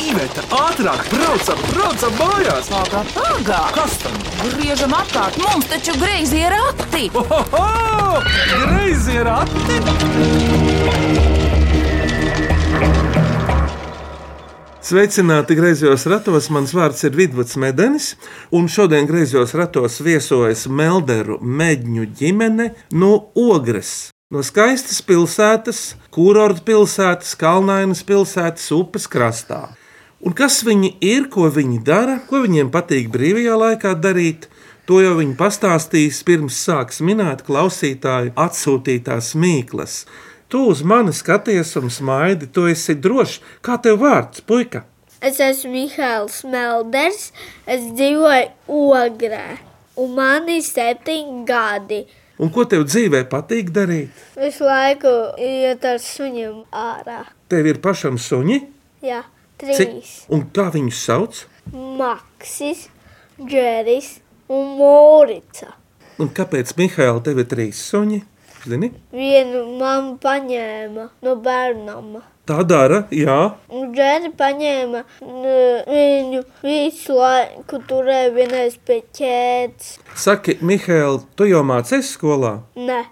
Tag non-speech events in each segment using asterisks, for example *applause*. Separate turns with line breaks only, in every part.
Iveta, ātrāk, braucam, braucam mājās!
Pagā, pagā!
Kas tam?
Griežam apkārt, mums taču greizi ir akti!
Ohoho! Greizi ir ati!
Sveicināti griezos ratos. Mans vārds ir Vidvuds Medenis, un šodien griezos ratos viesojas Melderu medņu ģimene no Ogres. No skaistas pilsētas, kurorta pilsētas, kalnainas pilsētas, upes krastā. Un kas viņi ir, ko viņi dara, ko viņiem patīk brīvajā laikā darīt, to jau viņi pastāstīs pirms sāks minēt klausītāju atsūtītās mīklas. Tu uz mani skaties un smaidi, tu esi drošs. Kā tev vārds, puika?
Es esmu Mihāls Melders, es dzīvoju Ogrē, un man ir septiņi gadi.
Un ko tev dzīvē patīk darīt?
Visu laiku iet ar suņiem ārā.
Tev ir pašam suņi,
Jā,
Cik-
trīs.
un kā viņus sauc?
Maksis, Džeris un Mūrica.
Un kāpēc Mihāla tev ir trīs suņi? Zini?
Vienu mammu paņēma no bērnama.
Tā dara, jā.
Un Džeri paņēma n- viņu visu laiku turēja vienais pie ķēdes.
Saki, Mihāla, tu jau mācies skolā?
Nē,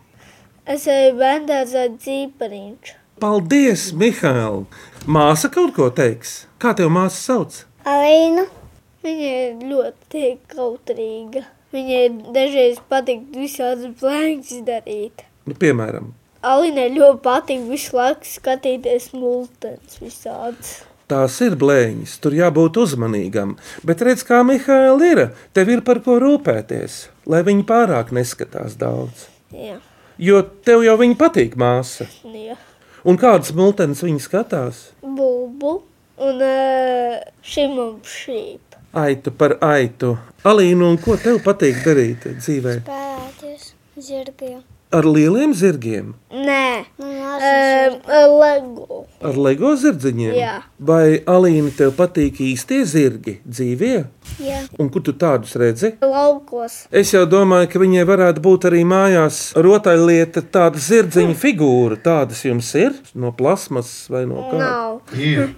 es eju bērndārzā dzīpariņš.
Paldies, Mihāla! Māsa kaut ko teiks. Kā tev māsa sauc?
Alīna. nu, Viņa ir ļoti kautrīga. Viņai dažreiz patīk visādas blēņas darīt.
Nu, piemēram,
Alīnai ļoti patīk visu laiku skatīties multens visādas.
Tās ir blēņas, tur jābūt uzmanīgam. Bet redz, kā Mihāla ir, tev ir par ko rūpēties, lai viņi pārāk neskatās daudz.
Jā,
Jo tev jau viņa patīk, māsa.
jā.
Un kādas multenes viņa skatās?
Bulbu un eh, šim un šīm.
Aitu par aitu. Alīna, un ko tev patīk darīt dzīvē?
Spēlēties zirgiem.
Ar lieliem zirgiem,
Nē,
Nu,
Em,
jāsadzird.
lego.
ar lego zirdziņiem?
Jā.
Vai Alīna tev patīk īstie zirgi dzīvē?
Jā.
Un kur tu tādus redzi?
Laukos.
Es jau domāju, ka viņai varētu būt arī mājās rotaļlieta, tāda zirdziņa figūra. Tādas jums ir no plasmas vai no kā?
Nav.
Ir.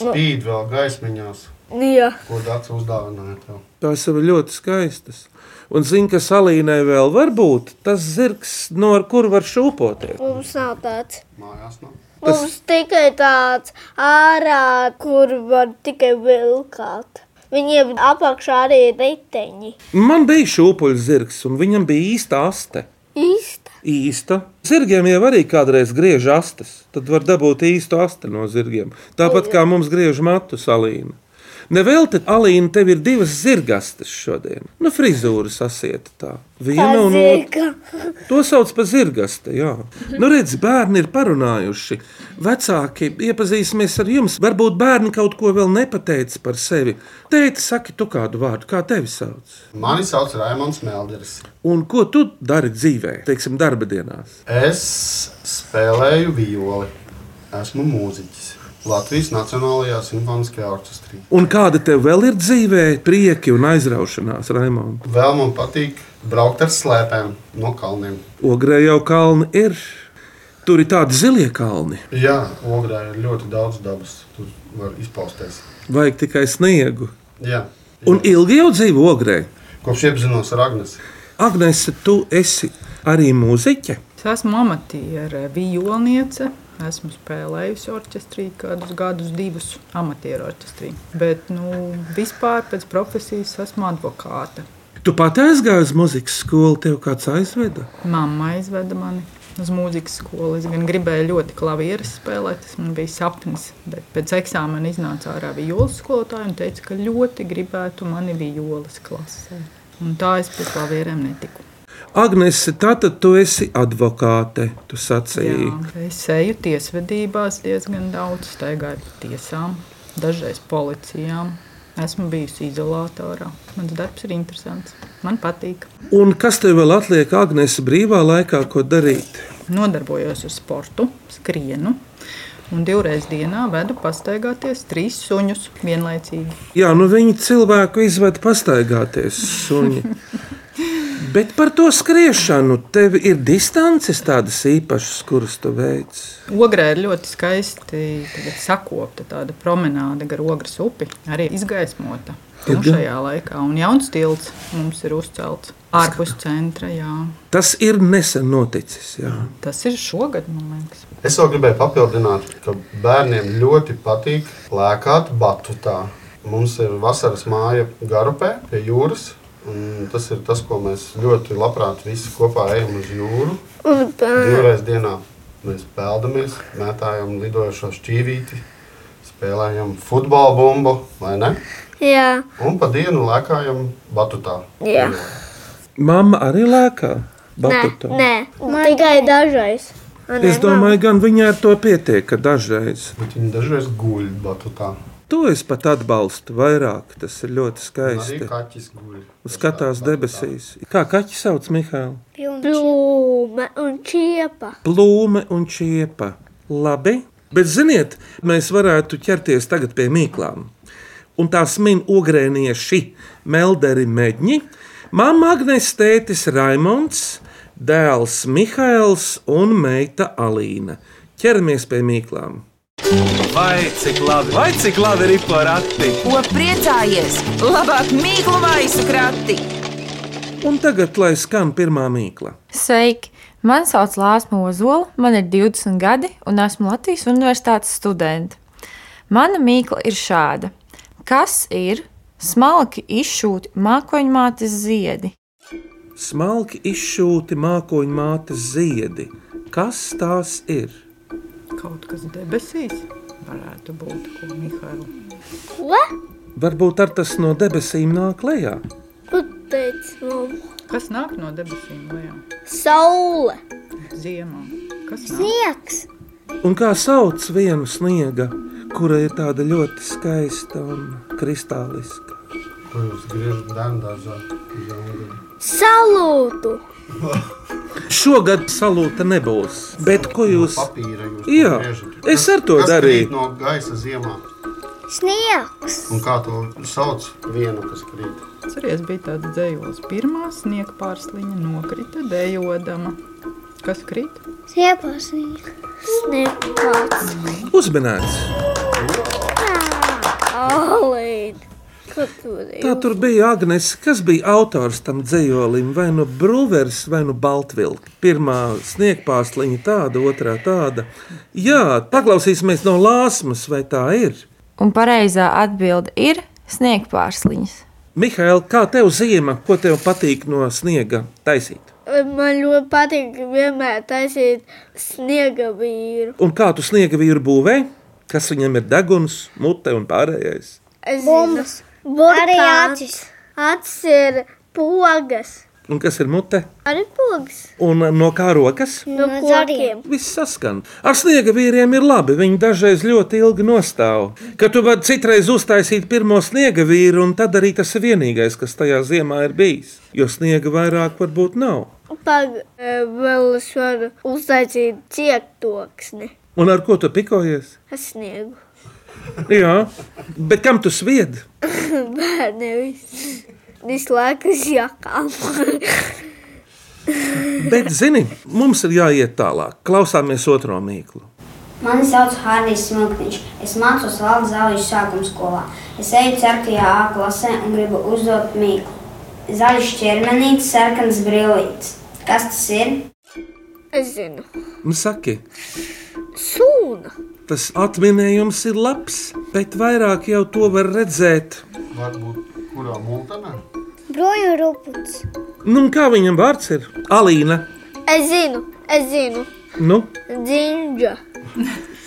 Spīd vēl gaismiņās,
Jā.
ko Dārts uzdāvināja. Tev.
Tās jau ir ļoti skaistas. Un zinu, ka salīnai vēl var būt tas zirgs, no ar kur var šūpoties.
Mums nav tāds.
Mājās nu. nav.
Tas-
Mums tikai tāds ārā, kur var tikai vilkt. Viņiem apakšā arī ir riteņi.
Man bija šūpoļu zirgs, un viņam bija īsta aste.
Īsta.
Īsta. Zirgiem jau arī kādreiz griež astes. Tad var dabūt īstu asti no zirgiem. Tāpat kā mums griež matu salīna. Nevelti, Alīna, tev ir divas zirgastes šodien. Nu, frizūra sasieta tā. Viena un otra.
Zirga.
To sauc par zirgaste. Jā, nu, redz, bērni ir parunājuši. Vecāki, iepazīsimies ar jums. Varbūt bērni kaut ko vēl nepateica par sevi. Tēti, saki, tu kādu vārdu, kā tevi sauc?
Mani sauc Raimons Melderis.
Un ko tu dari dzīvē, teiksim, darba dienās?
Es spēlēju violi. Esmu mūziķis Latvijas Nacionālajā simfoniskajā orķestrī.
Un kāda tev vēl ir dzīvē, prieki un aizraušanās, Raimond?
Vēl man patīk braukt ar slēpēm no kalniem.
Ogrē jau kalni ir. Tur ir tādi zilie kalni.
Jā, Ogrā ir ļoti daudz dabas. Tur var izpausties.
Vajag tikai sniegu.
Jā.
Un ilgi jau dzīvo ogrē.
Kopš iepazinos ar Agnēs.
Agnese, tu esi arī mūziķe.
Es esmu amatiere, violniece. Esmu spēlējusi orķestrī kādus gadus, divus amatieru orķestrī. Bet, nu, vispār pēc profesijas esmu advokāte.
Tu pati aizgāji uz muzikas skolu, tev kāds aizveda.
Māma aizveda mani uz mūzikas skolu. Es gan gribēju ļoti klavieres spēlēt, tas man bija sapnis. Bet pēc eksāmena iznāca ārā violas skolotāja un teica, ka ļoti gribētu mani violas klasē. Un tā es pie klavierēm netiku.
Agnese, tātad tu esi advokāte. Tu sacīji,
Jā, es eju tiesvedībās diezgan daudz, staigāju pa tiesām, dažreiz policijām. Esmu bijusi izolatorā. Mans darbs ir interesants. Man patīk.
un kas tev vēl atliek, Agnese, brīvā laikā, ko darīt?
Nodarbojos ar sportu, skrienu un divreiz dienā vedu pastaigāties trīs suņus vienlaicīgi.
*laughs*
Jā, nu viņi cilvēku izved pastaigāties, suņi. Bet par to skriešanu tev ir distances tādas īpašas, kuras tu veic.
Ogrē ir ļoti skaisti tagad sakopta tāda promenāde gar ogres upi, arī izgaismota.
Ir
Nu,
gan.
šajā laikā un jauns tilts mums ir uzcelts ārpus centra. Jā.
Tas ir nesen noticis. Jā.
Tas ir šogad, man liekas.
Es vēl gribēju papildināt, ka bērniem ļoti patīk lēkāt batutā. Mums ir vasaras māja Garupē pie jūras. un Tas ir tas, ko mēs ļoti labprāt visi kopā ejam uz jūru.
Un tā.
Divreiz dienā mēs peldamies, mētājam lidojošo šķīvīti, spēlējam futbola bumbu, vai ne?
Jā,
Un pa dienu lēkājam batutā.
jā.
Mamma arī lēkā.
Nē,
Batutā.
nē. tikai dažreiz. A, nē,
Es domāju, gan viņai ar to pietiek, ka dažreiz.
Bet viņi dažreiz guļ batutā.
To es pat atbalstu vairāk. Tas ir ļoti
Arī
skaisti.
kaķis guļ.
Skatās debesīs. Kā kaķi sauc Mihālu?
Plūme un čiepa.
Plūme un čiepa. Labi. Bet, ziniet, mēs varētu ķerties tagad pie mīklām. Un tās min ogrēnieši, melderi meģņi, māma Agnēs, tētis Raimons, dēls Mihails un meita Alīna. Ķeramies pie mīklām.
Vai cik labi, vai cik labi ir porakti?
Ko priecājies? Labāk mīklu maisu krati.
Un tagad, lai skan pirmā mīkla.
Sveiki! Mani sauc Lārs Mozola, man ir 20 gadi un esmu Latvijas Universitātes studente. Mana mīkla ir šāda: kas ir smalki izšūti mākoņmātes ziedi?
Smalki izšūti mākoņu mātes ziedi. Kas tās ir?
Kaut kas debesīs varētu būt, ko Mihaila
Ko?
Varbūt ar tas no debesīm nāk lejā.
Ko teica mums?
Kas nāk no debesīm lejā?
Saule.
Ziemā. Kas nāk?
Nieks!
Un kā sauc vienu sniega, kura ir tāda ļoti skaista un kristāliska?
Tur jūs griežat bērnu dārzā. uz augļiem.
Salūtu.
Šogad salūta nebūs. Bet ko jūs?
Papīra jūs tur
Jā,
griežat.
es ar to
Kas
darīju.
krīt No gaisa ziemā.
Sniegs!
Un kā to sauc? Vienu, kas krīt.
Atceries, bija tāds dzējos. Pirmā sniega pārsliņa nokrita dejodama. Kas krīt?
Siepaslīgs!
Nepats.
Uzmanīts!
Alīna. Ko tu
Tā
dari?
tur bija Agnese, kas bija autors tam dzējolim, vai nu Brūvers, vai nu Baltvilka. Pirmā sniegpārsliņa tāda, otrā tāda. Jā, paklausīsimies no lāsmas, vai tā ir.
Un pareizā atbilde ir sniegpārsliņas.
Mihail, kā tev zima, ko tev patīk no sniega taisīt?
Man ļoti patīk vienmēr taisīt sniega vīru.
Un kā tu sniega vīru būvē? Kas viņam ir deguns, mute un pārējais?
Es
Bumbas.
zinu. Burkāns.
Arī acis.
Acis ir pogas.
Un kas ir mute?
Arī pogas.
Un no kā rokas?
No, no
No
kokiem.
zariem.
Viss saskan. Ar sniega vīriem ir labi. Viņi dažreiz ļoti ilgi nostāv. Kad tu vari citreiz uztaisīt pirmo sniega vīru, un tad arī tas ir vienīgais, kas tajā ziemā ir bijis. Jo sniega vairāk varbūt nav.
Pag, e, vēl es varu uztaisīt cietoksni.
Un ar ko tu pikojies?
Es sniegu. *laughs*
Jā, bet kam tu sviedi?
Bērni visi. Visu laiku uz jakām. *laughs*
Bet, zini, mums ir jāiet tālāk. Klausāmies otro mīklu.
Mani sauc Hārdijs Smilkniņš. Es mācos Valdes Zāļu sākuma skolā. Es eju 4. A klasē un gribu uzdot mīklu. Zaļš ķermenītis, sarkans brillītis. Kas tas ir?
Es zinu.
Un Nu Saki,
Sūna.
tas atminējums ir labs, bet vairāk jau to var redzēt.
Varbūt kurā mūtenē?
Broju ruputs!
Nu, un kā viņam vārds ir? Alīna.
Es zinu. Es zinu.
Nu,
Dzinģa.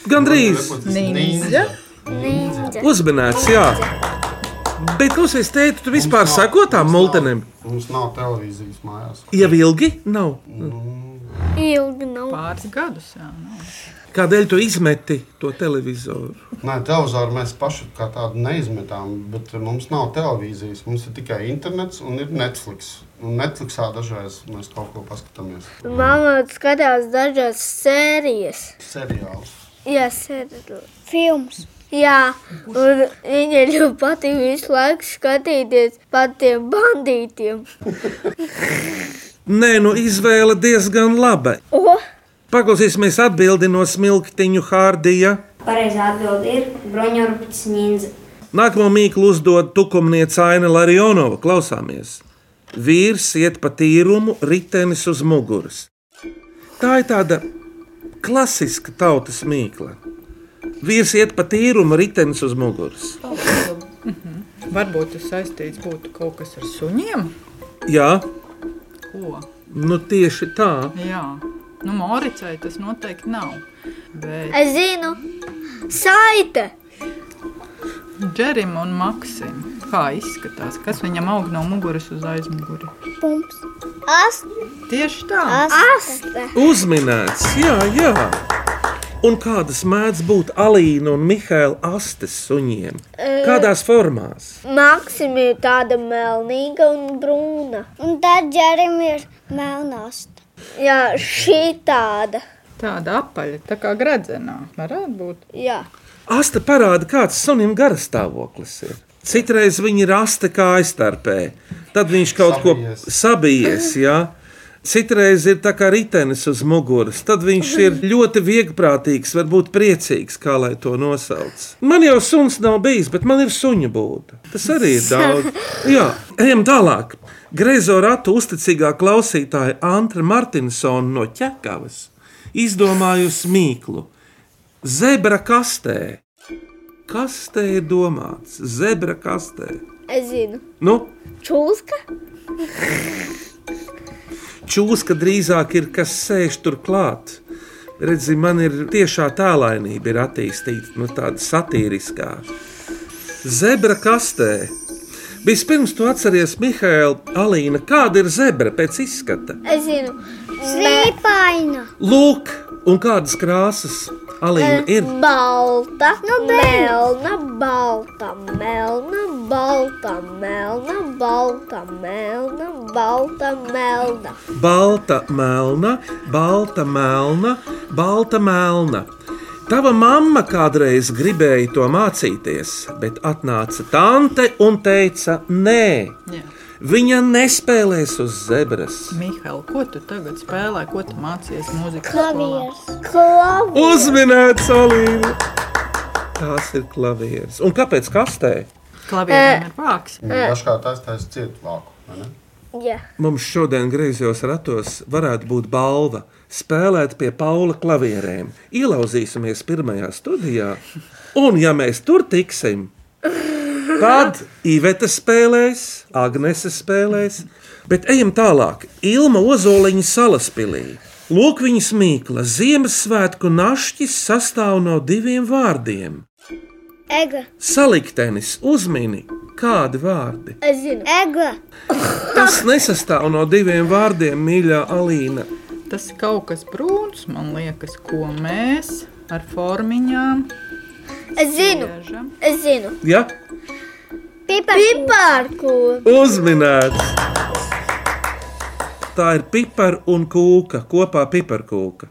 gandrīz.
Ninja.
Ninja.
Uzmanīts, jā. Bet, kā es teicu, tu vispār sako tām multenēm?
Mums nav televīzijas mājās.
Jau ilgi nav.
Ilgi nav.
Pāris gadus. Jā, nu.
Kādēļ tu izmeti to televizoru?
Nē, televizoru mēs paši kā tādu neizmetām, bet mums nav televīzijas. Mums ir tikai internets un ir Netflix. Un Netflixā dažreiz mēs kaut ko paskatāmies.
Mamā skatās dažas sērijas.
Seriāls.
Jā, sērijas.
Films!
Jā, un viņai ļoti patīk visu laiku skatīties par tiem bandītiem.
Nē, nu izvēle diezgan laba.
O,
Paklausīsimies atbildi no smilktiņu Hārdija.
Pareizā atbilde ir bruņurupucis ņindze.
Nākamo mīklu uzdod tukumniece Aina Larionova. Klausāmies. Vīrs iet pa tīrumu, ritenis uz muguras. Tā ir tāda klasiska tautas mīkla. Vīrs iet pa tīrumu, ritenis uz muguras.
Varbūt tas saistīts būtu kaut kas ar suņiem.
Jā,
Ko?
nu tieši tā.
Jā, nu, Moricai tas noteikti nav. Bet
es zinu, saite!
Džerim un Maksim, kā izskatās, kas viņam aug no muguras uz aizmuguri?
Pumps.
Ast,
Tieši tā.
asta!
Uzminēts, jā, jā. Un kādas mēdz būt Alīna un Mihaila astes suņiem? Kādās formās?
Maksim ir tāda melnīga un brūna.
Un tad ģērim ir melnāsta.
Jā, šī tāda.
Tāda apaļa, tā kā gradzenā. Varētu būt.
Jā.
Asta parāda, kāds sunim garastāvoklis ir. Citreiz viņi ir asta kā aizstarpē, tad viņš kaut
Sabijies.
ko sabijies. Jā. Citreiz ir tā kā ritenis uz muguras, tad viņš ir ļoti viegprātīgs, varbūt priecīgs, kā lai to nosauc. Man jau suns nav bijis, bet man ir suņa būda. Tas arī ir daudz. Jā, ejam tālāk. Greizo ratu uzticīgā klausītāja Antra Martinsona no Čekavas izdomājusi mīklu. Zebra kastē. Kas te ir domāts? Zebra kastē.
Es zinu,
Nu,
čūska.
čūska drīzāk ir kas sēž turklāt. Redzi, man ir tiešā tēlainība, ir attīstīta nu, tāda satīriskā. Zebra kastē. Vispirms tu atceries, Mihail, Alīna, kāda ir zebra pēc izskata?
Es zinu,
Slīpaina.
Lūk, un kādas krāsas Alīna ir.
Balta, nu, melna, balta, melna, balta, melna, balta, melna, balta, melna.
Balta, melna, balta, melna, balta, melna. Tava mamma kādreiz gribēja to mācīties, bet atnāca tante un teica, nē,
Jā.
viņa nespēlēs uz zebras.
Mihail, ko tu tagad spēlē, ko tu mācījies mūzikas skolā?
Klavieris.
Klavu.
Uzminēt, Salīna! Tās ir klavieres. Un kāpēc kastē?
Klavierēm ir vāks.
Dažkārt aiztaisa cietu vāku. vai ne?
Jā,
Mums šodien griezos ratos varētu būt balva spēlēt pie Paula klavierēm. Ielauzīsimies pirmajā studijā, un ja mēs tur tiksim, tad Iveta spēlēs, Agnese spēlēs. Bet ejam tālāk. Ilma Ozoliņa salaspilī. Lūk, viņas mīkla Ziemassvētku našķis sastāv no diviem vārdiem.
Ega.
Saliktenis uzmini, kādi vārdi?
es zinu,
Ega.
Tas nesastāv no diviem vārdiem, mīļā Alīna.
Tas ir kaut kas brūns, man liekas, ko mēs ar formiņām
es zinu,
griežam.
es zinu.
Ja?
Piparkūks.
Piparku.
Uzminēts! Tā ir pipara un kūka kopā piparkūka.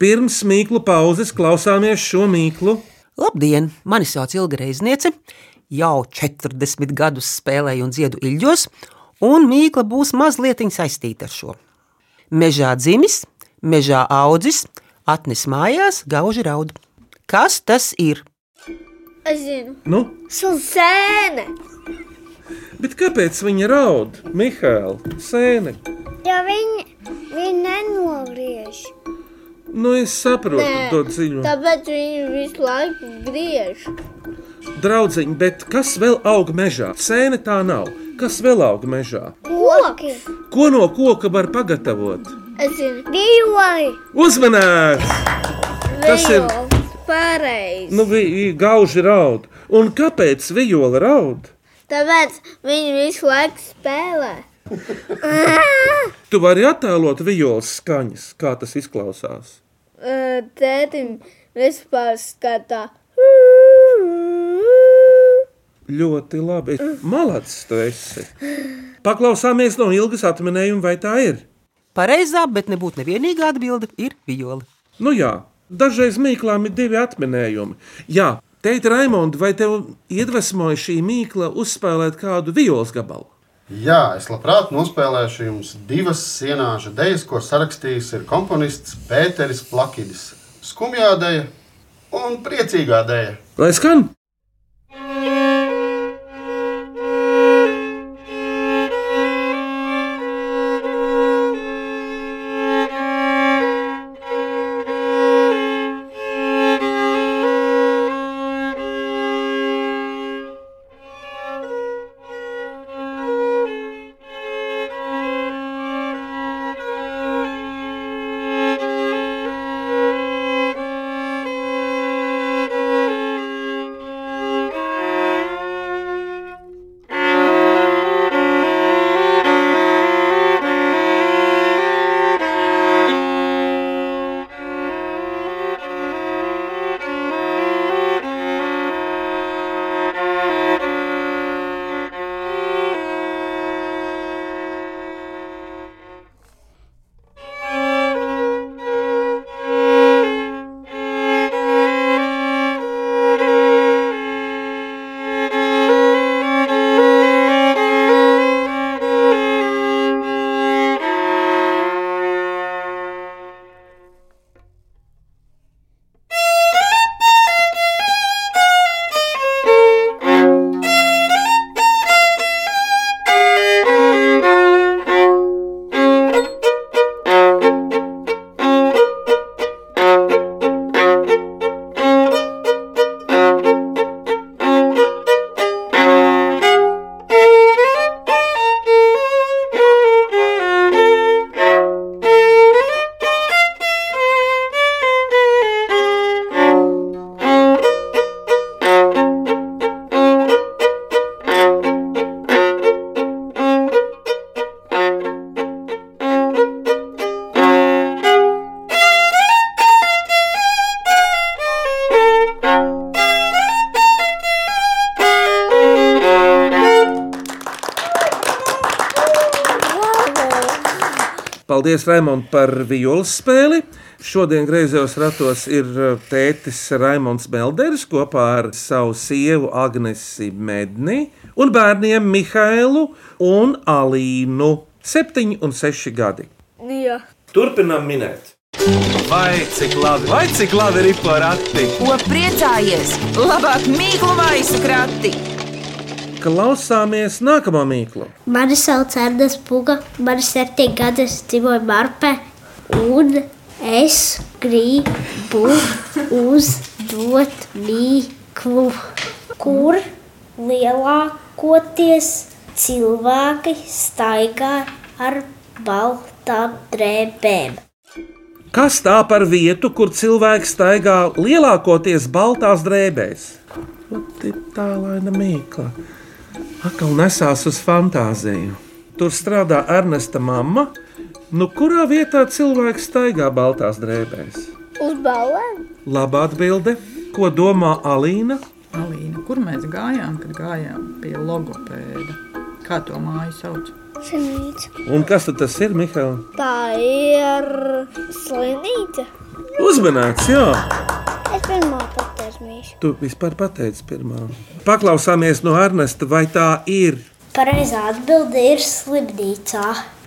Pirms mīklu pauzes klausāmies šo mīklu.
Labdien, mani sauc Ilgreizniece. Jau 40 gadus spēlēju un dziedu ilģos, un mīkla būs mazliet saistīta ar šo. Mežā dzimis, mežā audzis, atnes mājās, gauži raud. Kas tas ir?
Es zinu,
Nu,
sēne.
bet kāpēc viņa raud? Mihāļ, sēne.
Jo viņi, viņi nenogriež.
Nu, es saprotu Nē,
Nē,
to dziļumu. Tā...
Tāpēc viņi visu laiku griež.
Draudziņ, bet kas vēl aug mežā? Sēne tā nav. Kas vēl aug mežā?
Koki.
Ko no koka var pagatavot?
Es zinu,
Dīvai.
Uzmanīgs! Tas ir-
viols. Pareizi.
Nu, vi- gauži raud. Un kāpēc viola raud?
Tāpēc viņi visu laiku spēlē.
Tu vari attēlot violas skaņas, kā tas izklausās.
Uh, Tētim vispār skatā.
Ļoti labi. Malacis, tu esi. Paklausāmies no ilgas atminējuma, vai tā ir.
Pareizā, bet nebūtu nevienīgā atbilde ir viola.
Nu jā, dažreiz mīklām ir divi atminējumi. Jā, Teikt, Raimonds, vai tev iedvesmoja šī mīkla uzspēlēt kādu vijoles gabalu?
Jā, es labprāt nospēlēšu jums divas sienāža idejas, ko sarakstījis ir komponists Pēteris Plakidis. Skumjā dēļa un priecīgā dēļa.
Lai skan! Paldies, Raimond, par vijoles spēli. Šodien griezos ratos ir uh, tētis Raimons Melders kopā ar savu sievu Agnesi Medni un bērniem Mihailu un Alīnu. Septiņi un seši gadi.
Jā.
Turpinām minēt.
Vai cik labi, vai cik labi ir porakti?
Ko priecājies? Labāk mīklu maisu krati!
Klausāmies nākamā mīklu.
Mani sauc Ernests Puga, man ir septiņi gadi, es dzīvoju Marpē, un es gribu uzdot mīklu,
Kur lielākoties cilvēki staigā ar baltām drēbēm?
Kas tā par vietu, kur cilvēks staigā lielākoties baltās drēbēs? Nu, Lati, Tālaina mīkla. Atkal nesās uz fantāziju. Tur strādā Ernesta mamma. Nu, kurā vietā cilvēks staigā baltās drēbēs?
Uz balēm?
Labā atbilde, ko domā Alīna?
Alīna, kur mēs gājām, kad gājām pie logopēda? Kā to māju sauc?
Slimnīca.
Un kas tad tas ir, Mihail?
Tā ir slimnīca.
Uzmanīts, jā!
Es pirmā patērmīšu.
Tu vispār pateici pirmā. Paklausāmies no Ernesta, vai tā ir
pareizā atbilde ir slimnīcā.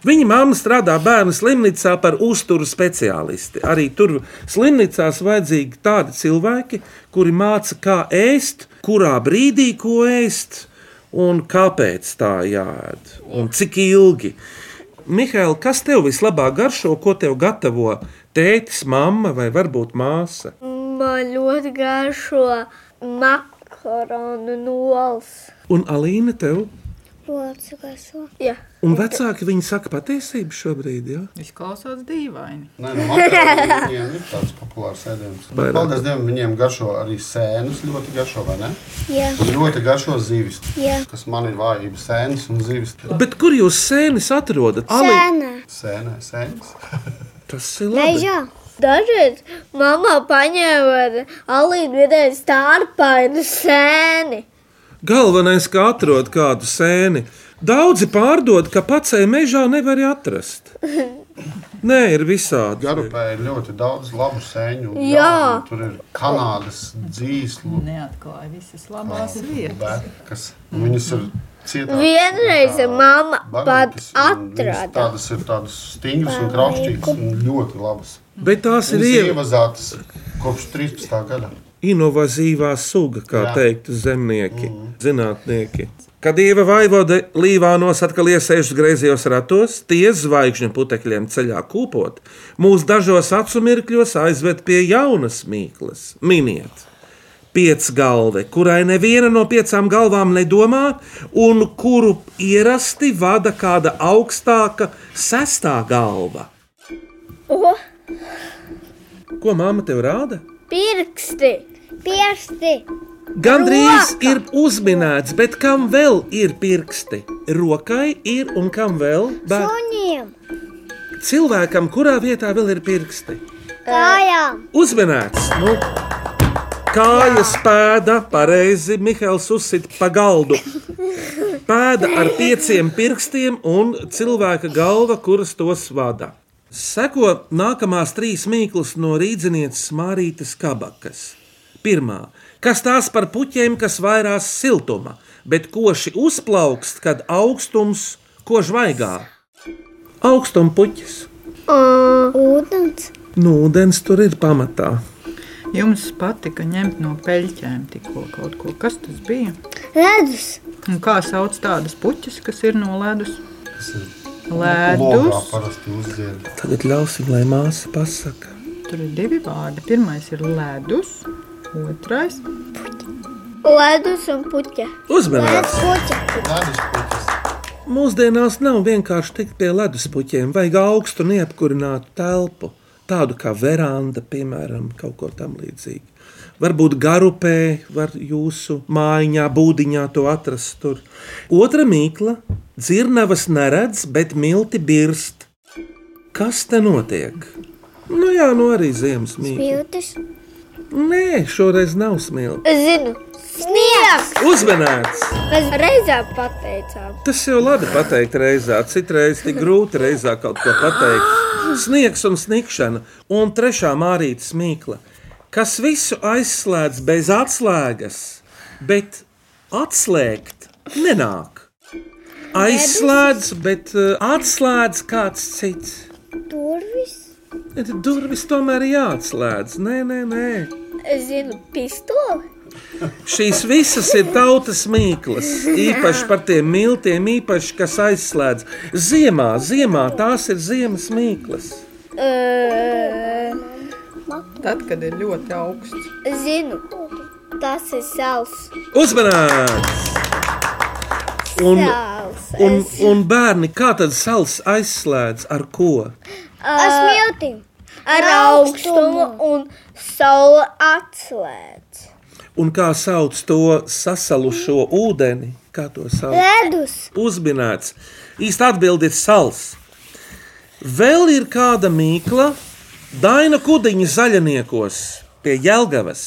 Viņa mamma strādā bērnu slimnīcā par uzturu speciālisti. Arī tur slimnīcās vajadzīgi tādi cilvēki, kuri māca, kā ēst, kurā brīdī ko ēst un kāpēc tā jādara un cik ilgi. Mihail, kas tev vislabāk garšo, ko tev gatavo tētis, mamma vai varbūt māsa?
Man ļoti garšo makaronu nols.
Un Alīna tev?
Lūdzu, garšo. Jā.
Un vecāki viņi saka patiesību šobrīd, ja?
Izklausās dīvaini.
Nē, nu, makaroni viņiem ir tāds populārs ēdiens. Bet,
Vairāk.
Paldies Dievam, viņiem garšo arī sēnes. Ļoti garšo, vai ne?
Jā.
Un ļoti garšo zivis.
Jā.
Kas man ir vājība, sēnes un zivis.
Bet kur jūs sēnes atrodat? Alī,
Sēna,
Sēnē, sēnes.
tas ir labi.
Dažreiz mamma paņēma alīdu vidēji stārpainu sēni.
Galvenais, ka atrod kādu sēni. Daudzi pārdod, ka pacēlā mežā nevar atrast. Nē, ir visādi.
Garupē ir ļoti daudz labu sēņu. un
Jā.
jāņu. Tur ir kanādas dzīslu,
Neatklāja visas labās vietas.
bet, kas viņas ir cietā.
Vienreiz mamma pat
Bagātas, un viņas
atrada.
Tādas ir tādas stingras un kraustīgas un ļoti labas.
Bet tās ir
Viņas ir
ieva-
ievazātas kopš 13. gada.
inovatīvā suga, kā
Jā.
teiktu zemnieki, zinātnieki. Kad dieva vaivoda līvānos atkal iesēžas griezījos ratos, tie zvaigžņu putekļiem ceļā kūpot, mūs dažos acumirkļos aizved pie jaunas mīklas, miniet. Piecgalve, kurai neviena no piecām galvām nedomā, un kuru ierasti vada kāda augstāka, sestā galva.
O,
Ko māma tev rāda?
pirksti!
Piesti!
Gandrīz ir uzminēts, bet kam vēl ir pirksti? Rokai ir un kam vēl? Bet
Puņiem!
cilvēkam, kurā vietā vēl ir pirksti?
Kājām!
Uzminēts! Nu, kājas pēda, pareizi Mihāls uzsita pa galdu. Pēda ar pieciem pirkstiem un cilvēka galva, kuras tos vada. Seko nākamās trīs mīklas no rīznieces Mārītas Kabakas. Pirmā, kas tās par puķiem, kas vairās siltuma, bet koši uzplaukst, kad augstums kož vaigā. Augstuma puķis.
Ūdens!
Nu, ūdens tur ir pamatā.
Jums patika ņemt no peļķēm tikko kaut ko. Kas tas bija?
Ledus!
Un kā sauc tādas puķas, kas ir no ledus?
Tas ir logā
Ledus.
parasti uzdzied.
Tagad ļausim, lai māsa pasakā.
Tur ir divi vārdi. Pirmais ir ledus, otrais
Ledus un puķa.
Uzmanības!
Puķa!
Ledus puķis.
Mūsdienās nav vienkārši tikt pie leduspuķiem, vajag augstu un neapkurinātu telpu, tādu kā veranda, piemēram, kaut ko tamlīdzīgu. Varbūt garupē, var jūsu mājiņā, būdiņā to atrast. Tur. Otra mīkla - dzirnavas neredz, bet milti birst. Kas te notiek? Nu jā, nu arī ziemas mīkla.
Jūtis!
Nē, šoreiz nav smilts.
Es zinu, sniegs!
Uzmanēts!
Mēs reizē pateicām.
Tas jau labi pateikt reizē, citreiz tik grūti reizē kaut ko pateikt. Sniegs un snikšana, un trešā mārītas mīkla, kas visu aizslēdz bez atslēgas, bet atslēgt nenāk. Aizslēdz, bet uh, atslēdz kāds cits.
Durvis?
Bet Durvis tomēr ir jāatslēdz. Nē, nē, nē.
Es zinu, pistoli.
Šīs visas ir tautas mīklas, īpaši par tiem miltiem, īpaši kas aizslēdz. Ziemā, ziemā tās ir ziemas mīklas.
Uh,
tad, kad ir ļoti augsts.
es Eh, zinu, tas ir sāls.
Uzmanīgs! Un,
Sāls.
un, un bērni, kā tad sals aizslēdz ar ko?
Ar smiltīm!
Ar augstumu un saula atslēdz.
Un kā sauc to sasalušo ūdeni? Kā to sauc?
Ledus!
Uzminēts. Īsta atbilde ir sals. Vēl ir kāda mīkla, Daina Kudiņa zaļniekos pie Jelgavas.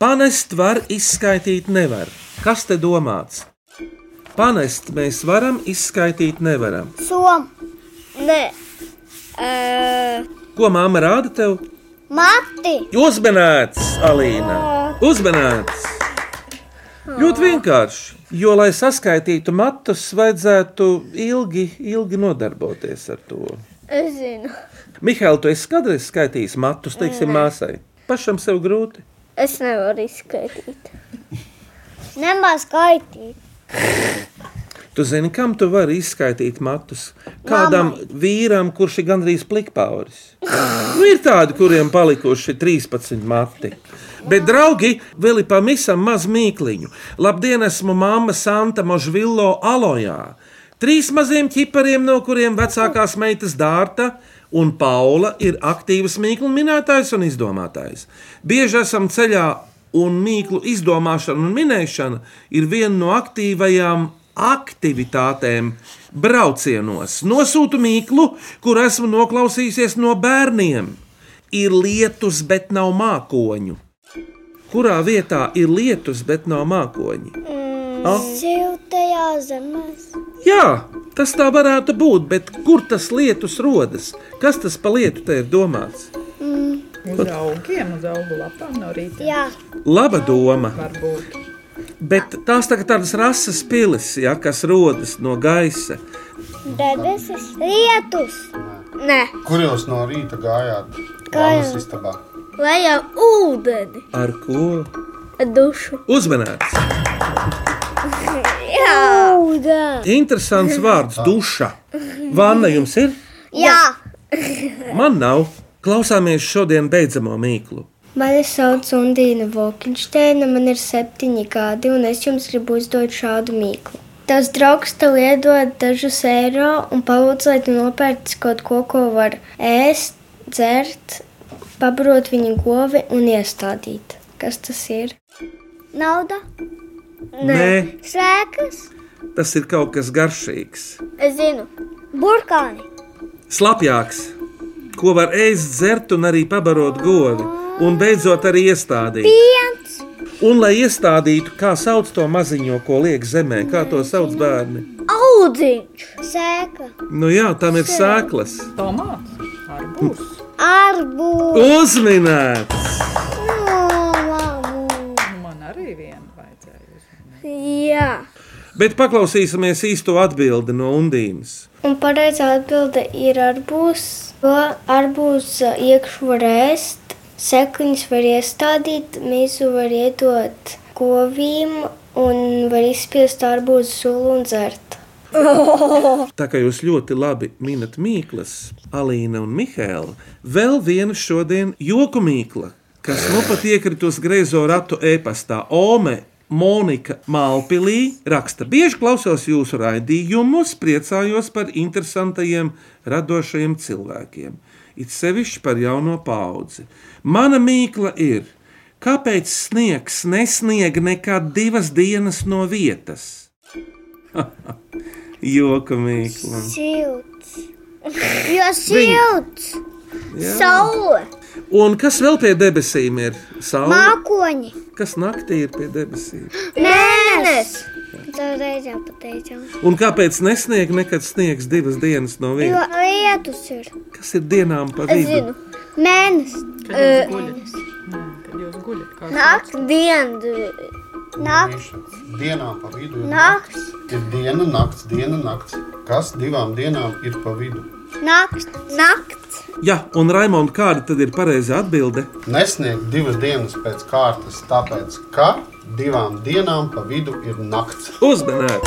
Panest var izskaitīt nevar. Kas te domāts? Panest mēs varam izskaitīt nevaram.
Som!
Nē, uh,
Ko māma rāda tev?
Mati!
Uzmanīts, Alīna! Uzmanīts! Ļoti vienkārši, jo, lai saskaitītu matus, vajadzētu ilgi, ilgi nodarboties ar to.
es zinu.
Mihāli, tu esi kādreiz skaitījis matus, teiksim, māsai. Pašam sev grūti.
Es nevaru izskaidrot.
Nemaz skaitīt!
Tu zini, kam tu vari izskaitīt matus? Kādam vīram, kurš ir gandrīz plikpauris. nu, ir tādi, kuriem palikuši 13 mati. Bet, draugi, vēl ir pavisam maz mīkliņu. Labdien, esmu mamma Santa Možvillo alojā. Trīs maziem ķipariem, no kuriem vecākās meitas dārta un Paula ir aktīvas mīklu minētājs un izdomātājs. Bieži esam ceļā un mīklu izdomāšana un minēšana ir viena no aktīvajām aktivitātēm braucienos. Nosūtu mīklu, kur esmu noklausījusies no bērniem. Ir lietus, bet nav mākoņu. Kurā vietā ir lietus, bet nav mākoņi? Mm.
Siltajā zemē!
Jā, Tas tā varētu būt, bet kur tas lietus rodas? Kas tas pa lietu te ir domāts?
Uz augiem, uz augu lapām no rīta.
Jā,
Laba doma,
Varbūt.
bet tās tagad tādas rases pilis, ja, kas rodas no gaisa.
debesis, lietus. Nē,
Kur jūs no rīta gājāt?
Gājām.
Vānas istabā.
lejām ūdeni,
Ar ko?
dušu.
Uzmanīts!
Jā, ūdeni.
Interesants vārds - duša. Vana jums ir?
Jā.
Man nav. Klausāmies šodien beidzamo mīklu.
Mani sauc Undīna Vokinšteina, man ir septiņi gadi, un es jums gribu uzdot šādu mīklu. Tas draugs tev iedod dažus eiro un palūdz, lai tu nopērci kaut ko, ko var ēst, dzert, pabarot viņa govi un iestādīt. Kas tas ir?
Nauda,
Nē,
sēklas,
tas ir kaut kas garšīgs.
es zinu, burkāni.
Slapjāks, ko var ēst, dzert un arī pabarot govi. Un beidzot, arī iestādīt.
Piens,
Un, lai iestādītu, kā sauc to maziņo, ko liek zemē, kā to sauc bērni.
audziņš, sēkla,
Nu, jā, tam ir sēklas.
Tomāts, arbūs.
arbūs.
Uzminēts!
Nu, Man arī viena vajadzēja.
Jā,
Bet paklausīsimies īsto atbildi no Undīnas.
Un pareizā atbilde ir arbūs. To arbūs iekšā var ēst, sēkliņas var iestādīt, mīsu var iedot govīm un var izspiest arbūzu sulu un dzert.
Tā kā jūs ļoti labi minat mīklas, Alīna un Mihēla, vēl viena šodien joku mīkla, kas nu pat iekritus griezo ratu e-pastā Ome. Monika Malpīlī raksta, bieži klausos jūsu raidījumus, priecājos par interesantajiem, radošajiem cilvēkiem, it sevišķi par jauno paudzi. Mana mīkla ir, kāpēc sniegs nesniega nekad divas dienas no vietas? Joka mīkla.
silts. Jo silts, saule,
Un kas vēl pie debesīm ir? Saula,
mākoņi,
kas naktī ir pie debesīm?
mēnesis. Tas reizē pateicām.
Un kāpēc nesniegs nekad sniegs divas dienas no
Jo
vienas?
lietus ir.
Kas ir dienām pa vidu?
Es zinu, mēnesis,
Kad jūs guļat? Nē, kad jūs guļat, kā sauc?
naktsdiena, nakts,
Dienā pa vidu ir,
nakts,
ir diena, nakts, diena, nakts. Kas divām dienām ir pa vidu?
nakts, nakts.
Jā, un Raimond, kāda tad ir pareizā atbilde?
Nesniegt divas dienas pēc kārtas, tāpēc ka divām dienām pa vidu ir nakts.
Uzmanēts!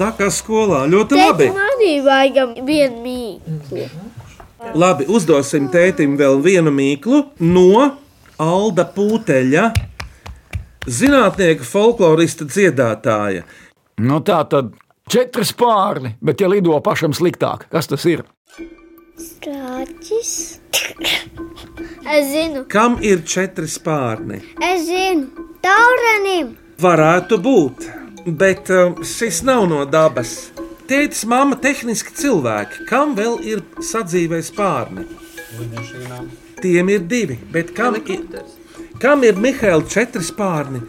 Tā kā skolā ļoti labi.
manī vajag vienu mīklu.
Labi, uzdosim tētim vēl vienu mīklu no Alda Pūteļa, zinātnieka, folklorista dziedātāja.
Nu, tā tad četri spārni, bet ja lido pašam sliktāk, kas tas ir?
Strāķis. Es zinu,
Kam ir četri spārni?
es zinu, taurenim.
Varētu būt, bet um, šis nav no dabas. Tētis, māma, tehniski cilvēki, kam vēl ir sadzīvē spārni?
Lidmašīnām.
Tiem ir divi, bet kam ir, kam ir Mihaila četri spārni?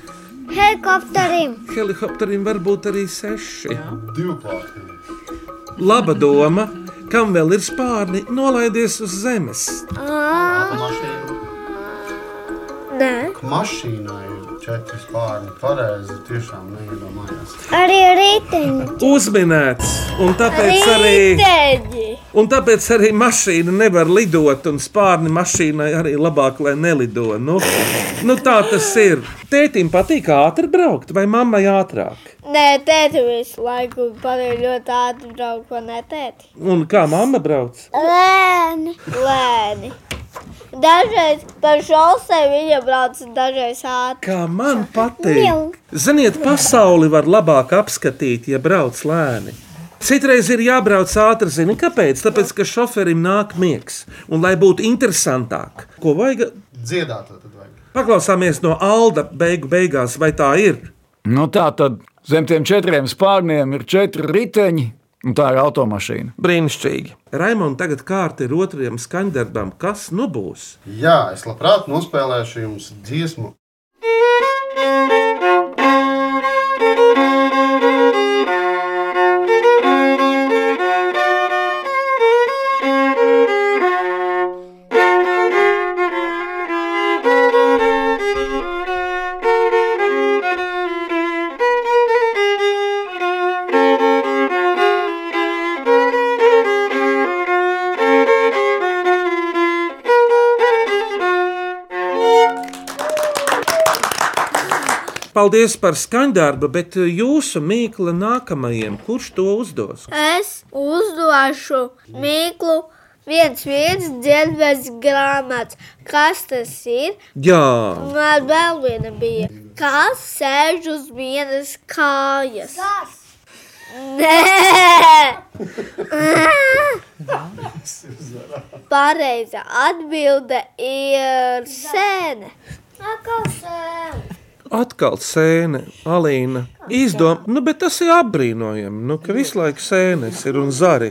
Helikopterim.
Helikopterim var būt arī seši.
Divkārtīgi.
Laba doma, kam vēl ir spārni, nolaidies uz zemes.
Ah. Nē.
Mašīnā ir četri spārni. Pareizi, tiešām neiedomājās.
Arī riteņi.
Uzminēts, un tāpēc arī,
Riteņi.
un tāpēc arī mašīna nevar lidot, un spārni mašīnai arī labāk, lai nelido. Nu, nu tā tas ir. Tētim patīk ātri braukt, vai mammai ātrāk?
Nē, tēti visu laiku padara ļoti ātri braukt, ko ne tēti.
Un kā mamma brauc?
Lēni. Lēni. Dažreiz par šolsē viņa brauc dažreiz ātri.
Kā man patīk. Ziniet, pasauli var labāk apskatīt, ja brauc lēni. Citreiz ir jābrauc ātri, zini, kāpēc? Tāpēc, ka šoferim nāk miegs. Un, lai būtu interesantāk, ko vajag,
Dziedāt to tad vajag.
paklausāmies no Alda beigu beigās, vai tā ir.
Nu, tā tad zem tiem četriem spārniem ir četri riteņi, un tā ir automašīna.
Brīnišķīgi. Raimond, tagad kārta ir otrajam skaņdarbam. Kas nu būs?
Jā, es labprāt nospēlēšu jums dziesmu.
Thank you.
Paldies par skaņdarbu, bet jūsu mīkla nākamajam, kurš to uzdos?
Es uzdošu mīklu. Viens, viens dienvids grāmatas. Kas tas ir?
Jā,
Man vēl viena bija. Kas sēž uz vienas kājas? Kas? Nē! Pareiza atbilde ir sēne. Atkal sēne.
atkal sēne, Alīna. Izdomā, nu, bet tas ir apbrīnojami, nu, ka visu laiku sēnes ir un zari.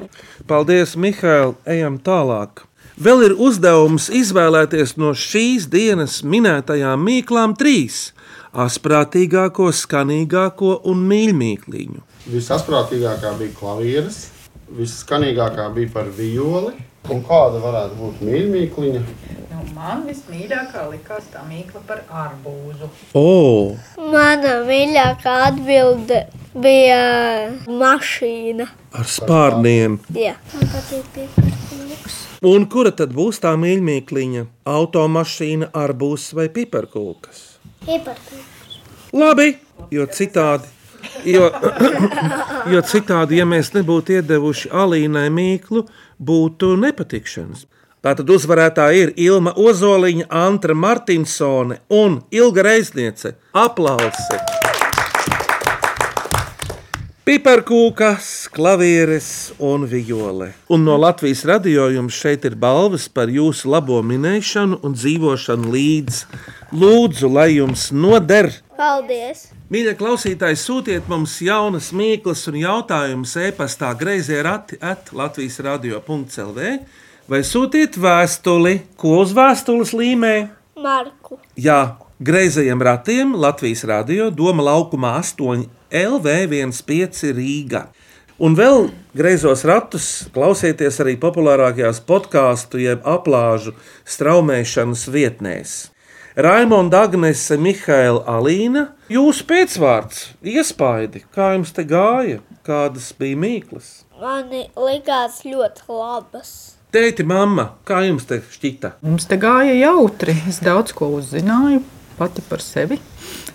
Paldies, Mihail, ejam tālāk. Vēl ir uzdevums izvēlēties no šīs dienas minētajām mīklām trīs - asprātīgāko, skanīgāko un mīļākīņu.
Visasprātīgākā bija klavieres, visskanīgākā bija par violi. Un kāda varētu būt mīļākā?
Nu, man vismīļākā likās tā mīkla par arbūzu.
O,
Mana mīļākā atbilde bija mašīna.
ar spārniem!
Jā. Man patīk piekrist.
Un kura tad būs tā mīļākā? Automašīna, arbūs vai piparkūkas? Labi, jo citādi. Jo, *coughs* jo citādi, ja mēs nebūtu iedevuši Alīnai mīklu, būtu nepatikšanas. Tātad uzvarētāji ir Ilma Ozoliņa, Antra Martinsone un Ilga Reizniece. Aplausi! Piparkūkas, klavieres un viole. Un no Latvijas radio jums šeit ir balvas par jūsu labo minēšanu un dzīvošanu līdz. Lūdzu, lai jums noder!
Paldies!
Mīļie klausītāji, sūtiet mums jaunas mīklas un jautājumus e-pastā grazē rati at Latvijas radio.clv vai sūtiet vēstuli, ko uz vēstules līmē.
Marku.
Jā, grazējiem ratiem Latvijas radio Doma laukumā 8 LV15 Rīga. Un vēl greizos ratus klausieties arī populārākajās podkāstu jeb aplāžu straumēšanas vietnēs. Raimonda Agnese, Mihaila Alīna, jūsu pēcvārds, iespaidi, kā jums te gāja, kādas bija mīklas?
Mani likās ļoti labas.
Tēti, mamma, kā jums te šķita?
Mums te gāja jautri. Es daudz ko uzzināju pati par sevi,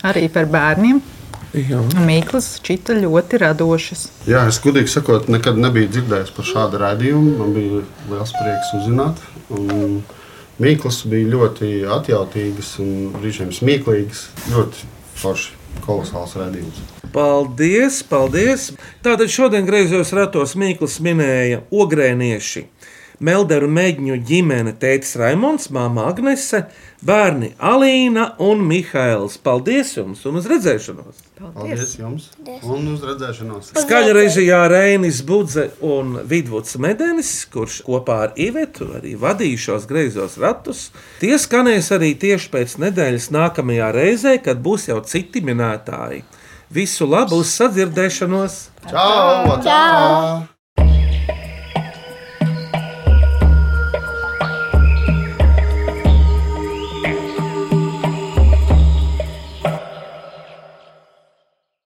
arī par bērniem.
Jā.
Mīklas šķita ļoti radošas.
Jā, es gudīgi sakot, nekad nebiju dzirdējis par šādu radījumu. Man bija liels prieks uzzināt. Un Mīklas bija ļoti atjautīgas un brīžiem smieklīgas. Ļoti forši, kolosāls radījums.
Paldies, paldies! Tātad šodien griezos ratos Mīkls minēja ogrēnieši. Melderu mēģņu ģimene, tēvs Raimons, māma Agnese, bērni Alīna un Mihails. Paldies jums un uz redzēšanos!
Paldies jums! Un uz redzēšanos!
Skaļa režijā Rēnis Budze un Vidvuds Medenis, kurš kopā ar Ivetu arī vadīšos greizos ratus. Tie skanēs arī tieši pēc nedēļas nākamajā reizē, kad būs jau citi minētāji. Visu labu uz sadzirdēšanos!
Čau!
Čau!